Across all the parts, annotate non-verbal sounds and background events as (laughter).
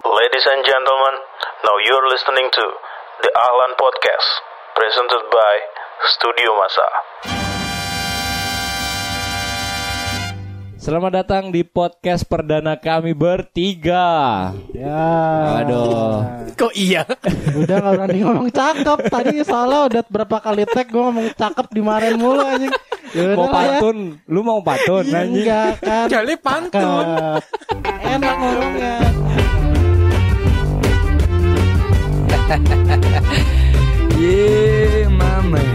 Ladies and gentlemen, now you're listening to the Ahlan Podcast, presented by Studio Masa. Selamat datang di podcast perdana kami bertiga. Ya. Aduh. Kok iya? Udah gak berani ngomong cakep. Tadi salah udah berapa kali tag gue ngomong cakep dimarahin mulu anjing. Yaudah Mau lah ya. pantun? Lu mau pantun? anjing? Enggak kan. Jali pantun. Cakep. Enak ngomongnya. Yeah, my man.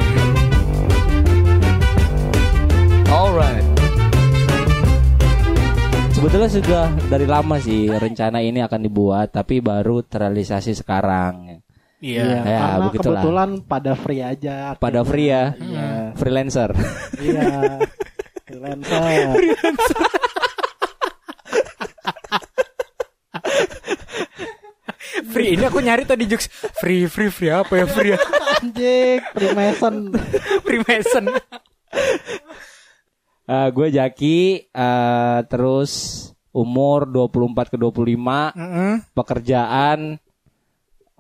Alright. Sebetulnya sudah dari lama sih rencana ini akan dibuat, tapi baru terrealisasi sekarang. Iya. Iya, Ya, karena begitulah. kebetulan pada free aja. Pada free ya, Iya. freelancer. (laughs) Iya. Freelancer. Free ini aku nyari tadi jokes free free free apa ya free (laughs) ya? Anjing, (laughs) Freemason. free Mason. Eh, gue Jaki, eh, terus umur 24 ke 25, Hmm. Heeh. pekerjaan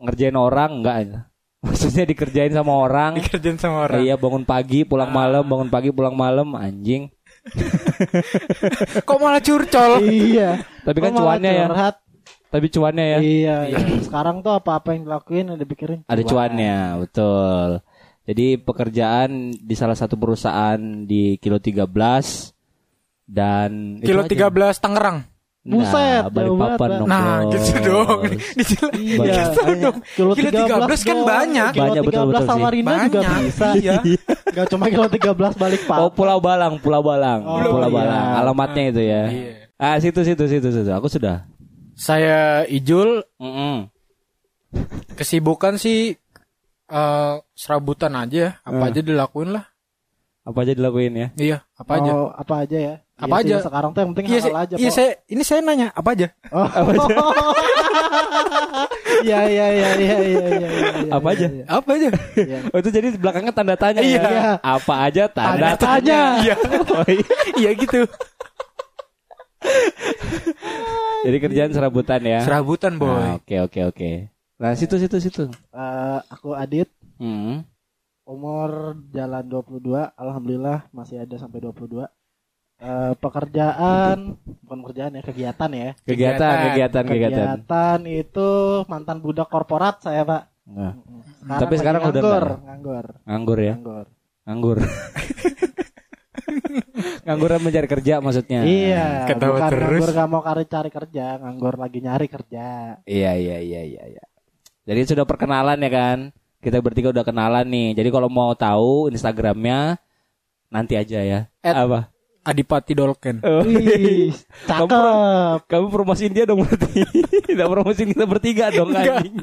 ngerjain orang enggak? (laughs) Maksudnya dikerjain sama (laughs) orang. Dikerjain sama orang. Iya bangun pagi pulang malam bangun pagi pulang malam anjing. Kok malah curcol? Iya. Tapi kan Kok malah cuannya ya. curhat? Tapi cuannya ya. Iya, iya. Sekarang tuh apa-apa yang dilakuin ada pikirin. Ada cuannya betul. Jadi pekerjaan di salah satu perusahaan di kilo 13 dan Nah, Iya. Kilo 13 Tangerang. Buset, jauh balik papan banget. dong. Nah, Bos. (laughs) gitu dong. Dijelasin. Iya, Gitu dong. kilo Kilo 13 kan dong. banyak. Kilo Banyak, 13 betul, betul sih. Samarinda juga Banyak, bisa. iya. Gak cuma kilo 13 balik pak. Oh Pulau Balang, Pulau Balang, Oh, Pulau iya. Balang. Alamatnya itu ya. Iya. Ah situ situ situ situ. Aku sudah. Saya Ijul Mm-mm. kesibukan sih eh, serabutan aja ya. Eh. Apa aja dilakuin lah. Apa aja dilakuin ya? Iya, apa aja. Oh, apa aja ya? Apa Iya sih, aja? Sekarang tuh yang penting Iya, halal saya- aja. iya, Pak. saya, ini saya nanya apa aja? Oh. (laughs) Iya iya iya iya iya iya. iya, Apa iya, aja? iya, Apa aja? iya. (laughs) Oh, itu jadi belakangnya tanda tanya Iya. ya. Apa aja tanda, Tanda tanya. Iya, Oh, iya. iya gitu. Jadi kerjaan serabutan ya. Serabutan Nah, boy. Oke oke oke. Nah situ situ situ. Eh, aku Adit, Hmm. umur jalan 22, alhamdulillah masih ada sampai 22. Eh, pekerjaan bukan pekerjaan ya kegiatan ya Kegiatan kegiatan Kegiatan, kegiatan. kegiatan itu mantan budak korporat saya pak Nah, Sekarang Tapi lagi sekarang udah nganggur, enggak nganggur, nganggur ya, nganggur. nganggur. Ngangguran mencari kerja maksudnya. Iya, Ketawa bukan terus. nganggur gak mau cari cari kerja, nganggur lagi nyari kerja. Iya iya iya iya. iya. Jadi sudah perkenalan ya kan. Kita bertiga udah kenalan nih. Jadi kalau mau tahu Instagramnya nanti aja ya. At- Apa? Adipati Dolken. (laughs) Oh, Wih, cakep. Kamu promosiin dia dong berarti. (laughs) Tidak promosiin kita bertiga dong anjing.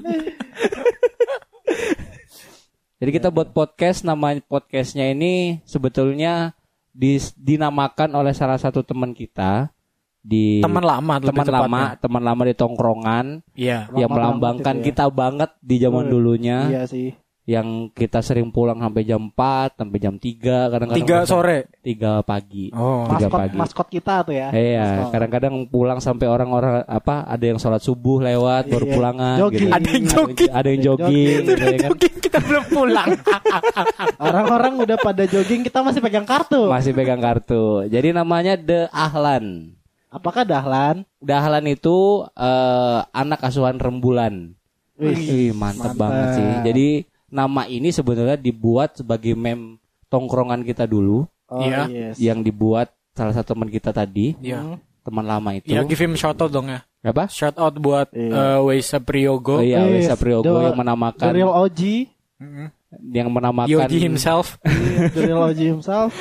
Jadi kita buat podcast nama podcastnya ini sebetulnya dis- dinamakan oleh salah satu teman kita di Teman lama, lebih Iya. teman tepatnya. lama teman lama di tongkrongan Iya. yang Lama melambangkan ya. banget itu kita ya. banget di zaman Betul. dulunya gitu ya. Iya sih. yang kita sering pulang sampai jam 4 sampai jam 3 kadang-kadang Tiga sore. 3 pagi Oh. (laughs) Tiga Maskot pagi. maskot kita tuh ya. Iya, Maskot. kadang-kadang pulang sampai orang-orang apa ada yang sholat subuh lewat baru Iya. pulangan Jogging. gitu. Ada yang jogging. Ada yang jogging. Iya, Jogging. gitu ya kan. Mungkin kita belum pulang. Orang-orang udah pada jogging, kita masih pegang kartu. Masih pegang kartu. Jadi namanya The Ahlan. Apakah dahlan? The Ahlan itu eh, anak asuhan Rembulan. Wih, Wih, mantep mantap. banget sih. Jadi nama ini sebenarnya dibuat sebagai meme tongkrongan kita dulu Oh, Iya. yes. yang dibuat salah satu teman kita tadi, (laughs) Iya. teman lama itu. Ya give him shout out dong ya. Apa? Shout out buat Iya. eh, Weisa Priogo. Oh iya, Yes, Wesa Priogo the- yang menamakan The real OG, Mm-mm. yang menamakan Yogi himself. the real OG (laughs) himself.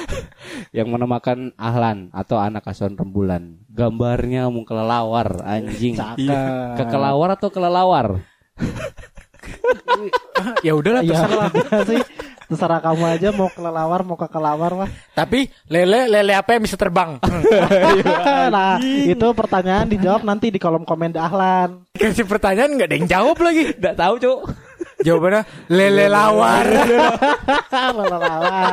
yang menamakan Ahlan atau anak asuhan rembulan. Gambarnya mau kelelawar anjing. Iya. Cakep. Kekelawar atau kelelawar? ya udahlah (laughs) Iya, terserah. udah sih. Terserah kamu aja mau kelelawar mau ke kelawar mah. Tapi lele lele apa yang bisa terbang? (laughs) Iya, nah, itu pertanyaan dijawab nanti di kolom komen Dahlan. Kasih pertanyaan nggak ada yang jawab lagi. Enggak tahu, Cuk. Jawabannya lele lawar. (laughs) Lalalala.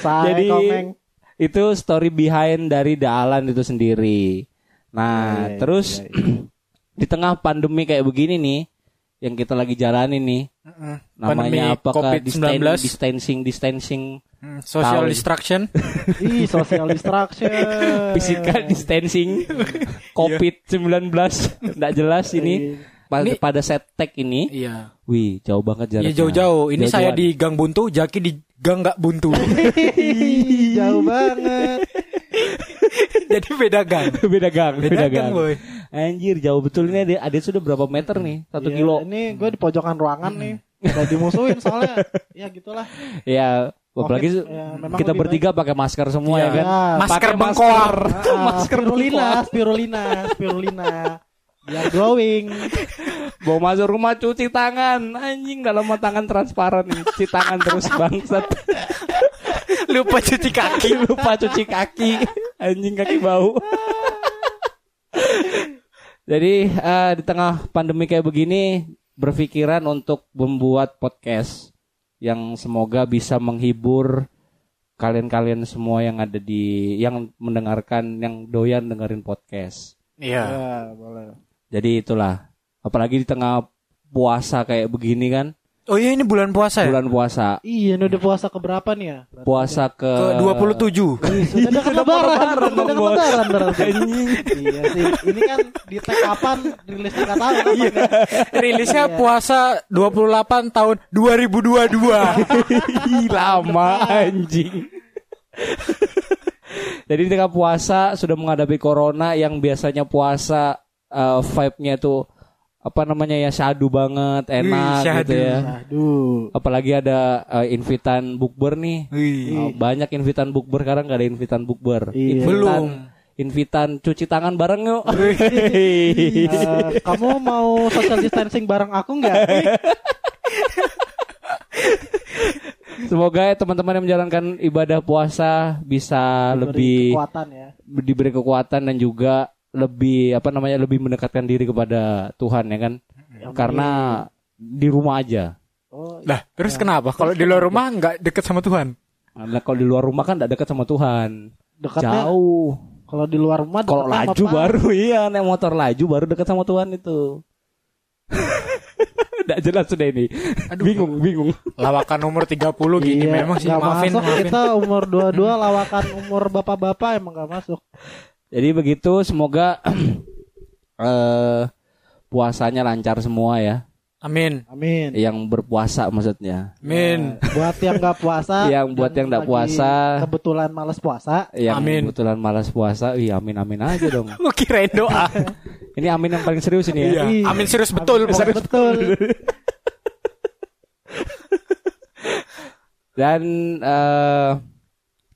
Sae Jadi komeng. itu story behind dari The Ahlan itu sendiri. Nah, Iya, iya, terus iya, iya. (clears throat) di tengah pandemi kayak begini nih yang kita lagi jalani nih Mm-mm. namanya Pandemi apakah COVID-19 distan- distancing distancing Mm, Social Tahu. distraction Ih, social distraction. physical distancing COVID-19 enggak jelas ini Pa- Ini- pada setback ini Iya wih jauh banget Iya jaraknya jauh-jauh Ini saya Jauh-jauhan. di Gang Buntu Jaki di Gang Gak Buntu Ih, jauh banget. Jadi beda gang (laughs) beda gang Beda gang, boy. anjir jauh betul ini ada ada sudah berapa meter nih satu Iya, kilo Ini gue di pojokan ruangan nih. Udah dimusuhin soalnya. ya gitulah. ya apalagi Covid, ya, memang kita lebih bertiga pakai masker semua Iya. ya kan Ya, Masker Pakai bengkoar (laughs) Ah, (laughs) Masker spirulina, spirulina, spirulina. Biar glowing. Bawa masuk rumah cuci tangan Anjing dalam tangan transparan nih. Cuci tangan terus bangsat (laughs) Lupa cuci kaki (laughs) Lupa cuci kaki Anjing kaki bau Jadi eh, di tengah pandemi kayak begini Berpikiran untuk membuat podcast Yang semoga bisa menghibur Kalian-kalian semua yang ada di Yang mendengarkan Yang doyan dengerin podcast Iya Ya, boleh. Jadi itulah Apalagi di tengah puasa kayak begini kan Oh iya ini bulan puasa ya Bulan puasa Iya, ini udah puasa keberapa nih ya? Berarti- puasa ke, Ke 27 Ih, sudah (laughs) dekat lebaran, sudah dekat Bos. lebaran (laughs) berarti. Iya sih, ini kan di tag kapan rilis nggak tahu Iya. kapan. kan? Rilisnya puasa 28 tahun 2022 Ih, lama anjing jadi di tengah puasa sudah menghadapi corona yang biasanya puasa eh, vibe-nya tuh apa namanya ya syadu banget enak Wih, syahdu. gitu ya Aduh. apalagi ada eh, invitan bukber nih Wih. Oh, banyak invitan bukber sekarang gak ada invitan bukber Iya. Invitan- Belum. invitan cuci tangan bareng (laughs) yuk Eh, (laughs) kamu mau social distancing bareng aku nggak? Semoga ya teman-teman yang menjalankan ibadah puasa bisa Diberi lebih kekuatan ya. diberi kekuatan dan juga lebih apa namanya lebih mendekatkan diri kepada Tuhan ya kan? Karena di rumah aja. Oh, Lah terus kenapa Kalau di luar rumah nggak deket sama Tuhan Nah, kalau di luar rumah kan tidak dekat sama Tuhan. dekatnya Jauh. kalau di luar rumah Kalau dekatnya laju apa? baru (laughs) iya, naik motor laju baru dekat sama Tuhan itu. (laughs) Tidak jelas sudah ini. Bingung, bingung. Lawakan umur 30 gini Iya, memang sih nggak Maafin masuk maafin kita umur 22 lawakan umur bapak-bapak emang gak masuk. Jadi begitu, semoga (clears throat) eh puasanya lancar semua ya. Amin Amin. Eh, yang berpuasa maksudnya Amin Buat yang nggak puasa, (laughs) Yang buat dan yang nggak lagi puasa. kebetulan males puasa. yang Amin. kebetulan malas puasa iya amin amin aja dong (laughs) Lu kirain doa ini amin yang paling serius ini ya Iya. Iya. Amin serius Amin, betul pokoknya. (laughs) (laughs) betul. dan eh,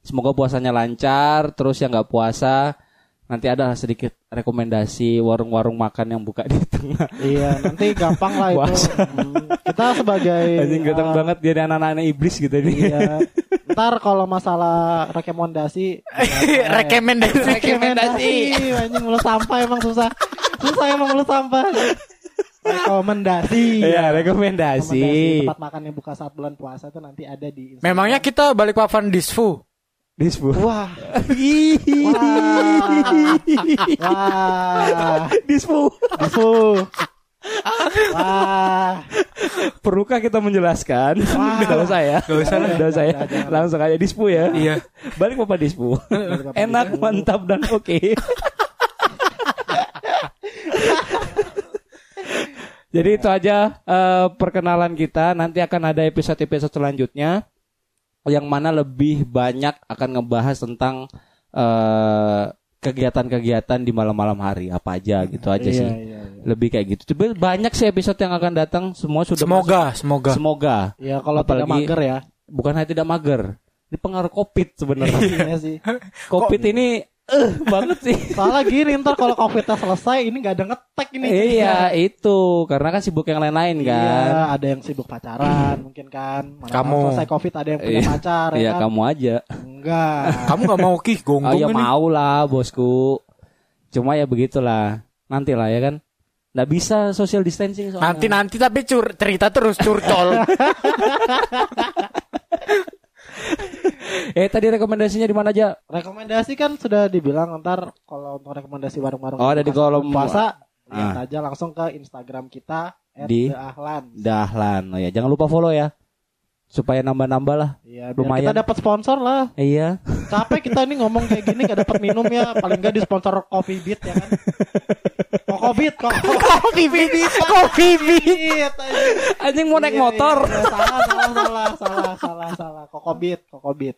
semoga puasanya lancar terus yang nggak puasa nanti ada sedikit rekomendasi warung-warung makan yang buka di tengah iya, nanti gampang lah itu. Puasa. Hmm, Kita sebagai anjing ganteng eh, banget jadi anak-anak iblis gitu ini Iya. Ntar kalau masalah rekomendasi (laughs) Rekomendasi rekomendasi iya, anjing mulut sampah emang susah. Susah emang mulut sampah. Rekomendasi. (laughs) Iya, Rekomendasi rekomendasi tempat makan yang buka saat bulan puasa itu nanti ada di Instagram. Memangnya kita balik papan disfu disbu (laughs) Wah. Wah. Wah. disbu Asu. Wah. perlukah kita menjelaskan ya. kalau saya Nggak usah lah. Kalau saya langsung aja dispu ya Iya balik bapak dispu Bapak enak mantap dan oke (laughs) jadi itu aja eh, perkenalan kita nanti akan ada episode-episode selanjutnya yang mana lebih banyak akan ngebahas tentang eh, kegiatan-kegiatan di malam-malam hari apa aja gitu aja Iya, sih iya, iya. lebih kayak gitu tapi banyak sih episode yang akan datang semua sudah Semoga masuk- Semoga semoga Ya kalau tidak Apalagi- mager ya. bukan hanya tidak mager ini pengaruh covid sebenarnya (laughs) Iya sih. covid ini eh banget sih Soalnya gini ntar kalau covidnya selesai ini nggak ada ngetek ini. iya itu karena kan sibuk yang lain-lain kan Iya, ada yang sibuk pacaran mungkin kan. Mana tahu Kamu. selesai covid ada yang punya Iya. pacar ya Iya kan? kamu aja Enggak. Kamu gak mau oh kih ya gonggong ini mau lah bosku cuma ya begitulah nanti lah ya kan nggak bisa social distancing soalnya Nanti nanti tapi cur cerita terus curcol eh tadi rekomendasinya di mana aja? Rekomendasi kan sudah dibilang ntar kalau untuk rekomendasi warung-warung Oh, ada di buka kolom- puasa Ah. lihat aja langsung ke Instagram kita Di? @ahlan. Dahlan. Oh ya, jangan lupa follow ya. Supaya nambah-nambah lah. Iya, biar Lumayan. kita dapat sponsor lah. Iya. Capek kita ini ngomong kayak gini gak dapat minum ya, paling gak di sponsor Coffee Beat ya kan. Kok Covid kok Coffee Beat. Kopi Beat. anjing. Anjing mau naik Iya, motor. iya, iya. Salah salah salah salah salah salah. Kokobit, kokobit.